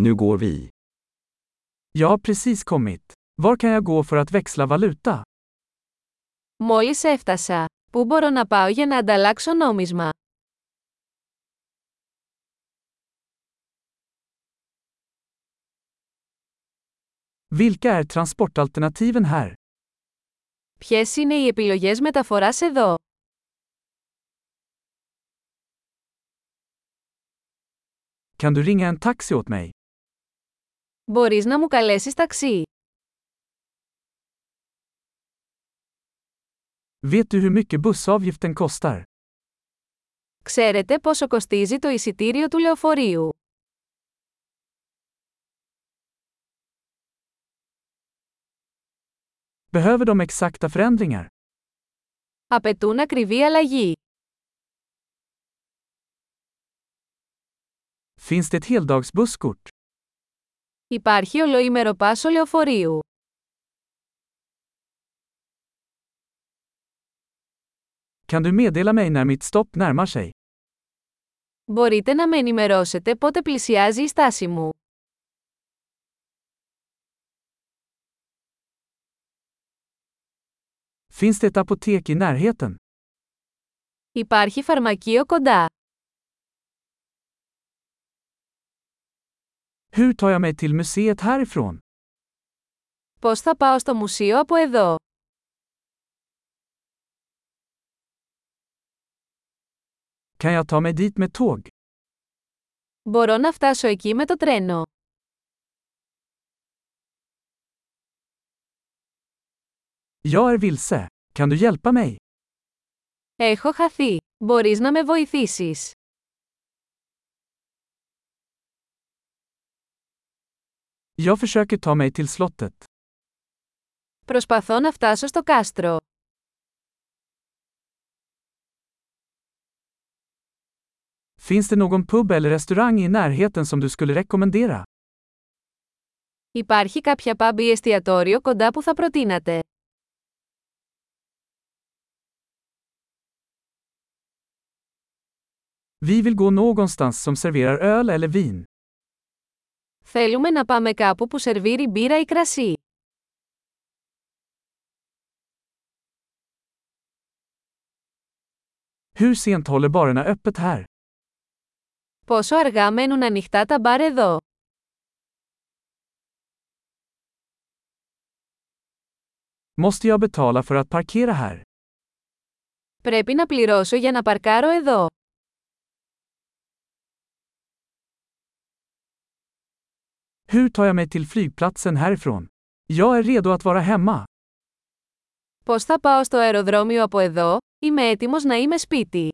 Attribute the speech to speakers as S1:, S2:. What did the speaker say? S1: Nu går vi.
S2: Jag har precis kommit. Var kan jag gå för att växla valuta?
S3: Μόλις έφτασα. Πού μπορώ να πάω για να ανταλλάξω νόμισμα?
S2: Vilka är transportalternativen här?
S3: Ποιες είναι οι επιλογές μεταφοράς εδώ?
S2: Kan du ringa en taxi åt mig?
S3: Μπορείς να μου καλέσεις ταξί.
S2: Vet du hur mycket bussavgiften kostar?
S3: Ξέρετε πόσο κοστίζει το εισιτήριο του λεωφορείου.
S2: Behöver de exakta förändringar?
S3: Απαιτούν ακριβή αλλαγή.
S2: Finns det ett heldagsbusskort?
S3: Υπάρχει ολοήμερο πάσο λεωφορείου.
S2: Kan du meddela mig när mitt stopp närmar sig?
S3: Μπορείτε να με ενημερώσετε πότε πλησιάζει η στάση μου.
S2: Finns det ett apotek i närheten?
S3: Υπάρχει φαρμακείο κοντά.
S2: Hur tar jag mig till museet härifrån?
S3: Πώς θα πάω στο μουσείο από εδώ.
S2: Kan jag ta mig dit med tåg?
S3: Μπορώ να φτάσω εκεί με το τρένο.
S2: Jag är vilse. Kan du hjälpa mig?
S3: Έχω χαθεί. Μπορείς να με βοηθήσεις.
S2: Jag försöker ta mig till slottet.
S3: Προσπαθώ να φτάσω στο κάστρο.
S2: Finns det någon pub eller restaurang i närheten som du skulle rekommendera?
S3: Υπάρχει κάποια pub ή εστιατόριο κοντά που θα προτείνατε.
S2: Vi vill gå någonstans som serverar öl eller vin.
S3: Θέλουμε να πάμε κάπου που σερβίρει μπύρα ή κρασί.
S2: Hur sent håller barerna öppet här?
S3: Πόσο αργά μένουν ανοιχτά τα μπαρ εδώ.
S2: Måste jag betala för att parkera här?
S3: Πρέπει να πληρώσω για να παρκάρω εδώ.
S2: Hur tar jag mig till flygplatsen härifrån? Jag är redo att vara hemma.
S3: Πώς θα πάω στο αεροδρόμιο από εδώ, είμαι έτοιμος να είμαι σπίτι.